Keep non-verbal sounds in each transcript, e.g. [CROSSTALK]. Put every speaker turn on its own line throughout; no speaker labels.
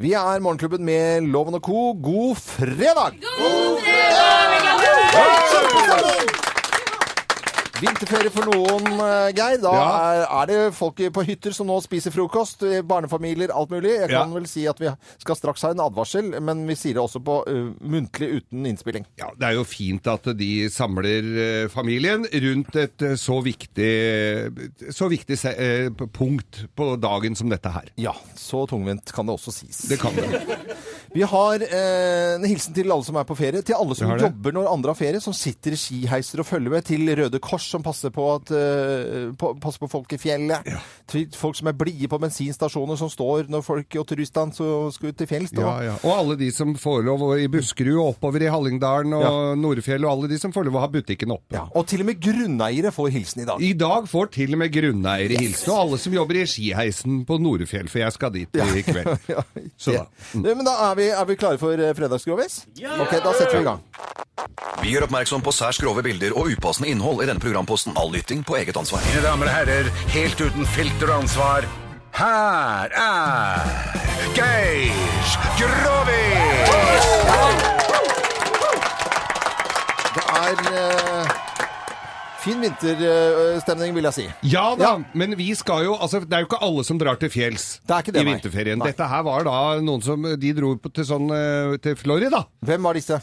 Vi er Morgenklubben med Loven og Co. God fredag! Vinterferie for noen, eh, Geir. Da er,
Ja.
er det folk i- på hytter som nå spiser frokost. eh, Barnefamilier, alt mulig. Jeg kan
Ja.
vel si at vi skal straks ha en advarsel, men vi sier det også på eh, muntlig uten innspilling.
Ja, Det er jo fint at de samler eh, familien rundt et eh, så viktig, så viktig se- eh, p- punkt på dagen som dette her.
Ja, så tungvint kan det også sies.
Det kan det.
Vi har eh, en hilsen til alle som er på ferie, til alle som
Vi har det.
jobber når andre har ferie, som sitter i skiheiser og følger med, til Røde Kors som passer på, at, eh, på, passer på folk i fjellet, til folk som er blide på bensinstasjoner som står når folk og turistene så skal ut til fjells. da.
Ja, ja. Og alle de som får lov å- i Buskerud og oppover i Hallingdalen og
Ja.
Nordfjell, og alle de som får lov å ha butikken oppe.
Ja, og til og med grunneiere får hilsen i dag.
I dag får til og med grunneiere hilse, og alle som jobber i skiheisen på Norefjell, for jeg skal dit i
[LAUGHS]
kveld.
[LAUGHS] Ja,
Så da.
det. Men da er vi, er vi klare for eh, fredagsgrovis? Ok, da setter vi i gang.
Vi gjør oppmerksom på særs grove bilder og upassende innhold i denne programposten. All lytting på eget ansvar.
Mine damer og herrer, helt uten filter og ansvar, her er Geir Grovis!
Det er eh, fin vinterstemning, vil jeg si.
Ja da,
Ja.
men vi skal jo Altså, det er jo ikke alle som drar til fjells
Det er ikke det,
i
nei.
vinterferien.
Nei.
Dette her var da noen som De dro på, til sånn eh, til Florida.
Hvem var disse?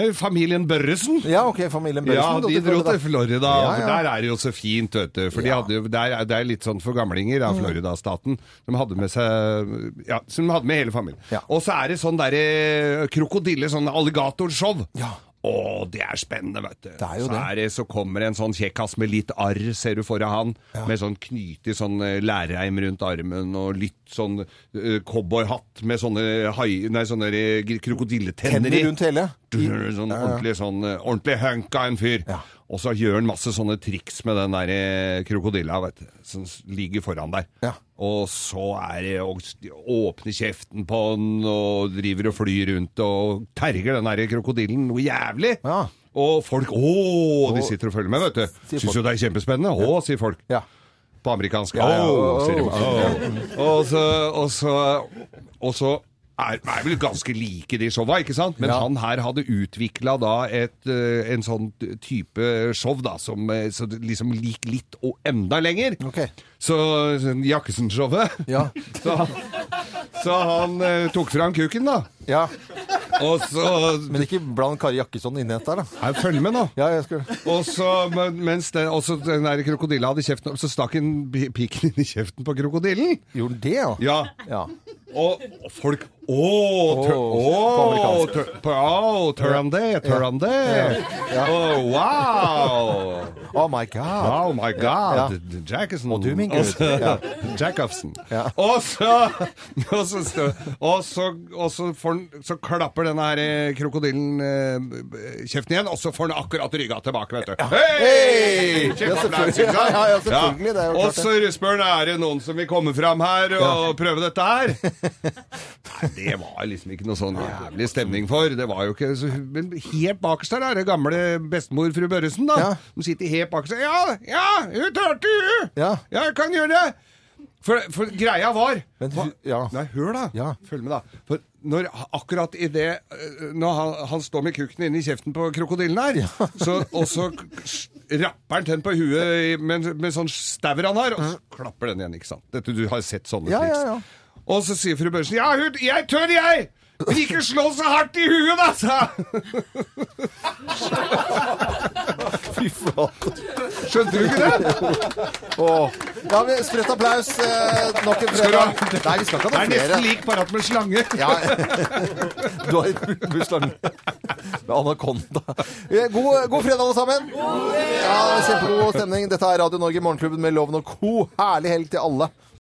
Eh, Familien Børresen.
Ja, ok, familien
Ja,
Børresen.
de dro til Florida.
Ja,
for
ja.
Der er det jo så fint, vet du. For de hadde, jo- der, er- det er litt sånn for gamlinger
Mm.
av Florida-staten. De hadde med seg Ja, som de hadde med hele familien.
Ja.
Og så er det sånn derre krokodille, sånn alligatorshow.
Ja.
Å, det er spennende, vet du.
Det er jo
så,
det.
er det, så kommer en sånn kjekkas med litt arr, ser du foran han, med sånn knytig sånn eh, lærreim rundt armen og litt sånn eh, cowboyhatt med sånne, hai, nei, sånne eh, krokodilletenner
Hender
i.
rundt hele.
Sånn ordentlig, sånn, eh, ordentlig hunk av en fyr.
Ja.
Og så gjør han masse sånne triks med den der eh, krokodilla vet du, som s- ligger foran der.
Ja.
Og så er det å s- åpne kjeften på den og driver og flyr rundt og terger den der krokodillen noe jævlig.
Ja.
Og folk Å, de sitter og følger med, vet du.
sier
Syns jo det er kjempespennende. Å, sier folk.
Ja.
På amerikansk.
ja.
«Åh», sier
Åh.
de. «Åh». Og så, og så, og så er, er vel ganske like de showa, ikke sant? Men
Ja.
han her hadde utvikla da et, eh, en sånn type show da, som eh, så det liksom gikk litt og enda lenger.
Ok.
Så sånn Jakkesen-showet.
Ja.
[LAUGHS] Så, han- så han eh, tok fram kuken, da.
ja.
Og så
Men ikke bland Kari Jakkesson inni dette her, da.
Nei, Følg med nå.
Ja, jeg skal...
Og så, men- mens den, og så den der krokodilla hadde kjeften, opp, så stakk han pi- piken inn i kjeften på krokodillen.
Gjorde den det, ja?
Ja,
Ja.
og og folk Å, tør,
på
å,
amerikansk.
tør, på- å, tør han det? Tør han det? Å, wow!
Oh my god.
Oh my
Ja.
god! Jackson.
Og du, min
Og
gud.
så-
Ja.
Jacobsen.
Ja.
Og så Og så, stå- og så, og så, får han- så klapper den her eh, krokodillen eh, kjeften igjen, og så får han akkurat rygga tilbake, vet du. Hei!
Ja,
Kjempeapplaus,
selvfølgelig.
ikke sant?
Ja, ja, selvfølgelig, det er jo
Og
klart det.
så spør han er det noen som vil komme fram her og prøve dette her. Nei, det var liksom ikke noe sånn jævlig stemning for. Det var jo ikke så, Men helt bakerst der er det gamle bestemor fru Børresen, da.
Ja.
Hun sitter helt bakerst der. Ja, ja, hun turte, hun!
Ja.
ja, jeg kan gjøre det! For, for greia var
Men hu- ja.
Nei, hør da.
Ja.
Følg med, da. For når, akkurat i det øh, Når han, han står med kukken inni kjeften på krokodillen her, [LAUGHS] så, og så k- s- rapper han den på huet i- med, en- med sånn staur han har, og så klapper den igjen, ikke sant. Dette, du har sett sånne
Ja,
triks.
ja, ja.
Og så sier fru Børsen Ja, hun, jeg tør, jeg! Men ikke slå så hardt i huet, da, sa han.
Fy flate.
Skjønte du ikke det?
Åh. Ja, men spredt applaus eh, nok en
du
fredag.
ha-
Nei, vi skal ikke
Det
ha
er
noen flere.
nesten lik parat med slange.
Ja. [LAUGHS] Du har et bursdag med anakonda. Eh, God, god fredag, alle sammen. Ja, Kjempegod stemning. Dette er Radio Norge Morgenklubben med Loven og Co. Herlig helg til alle.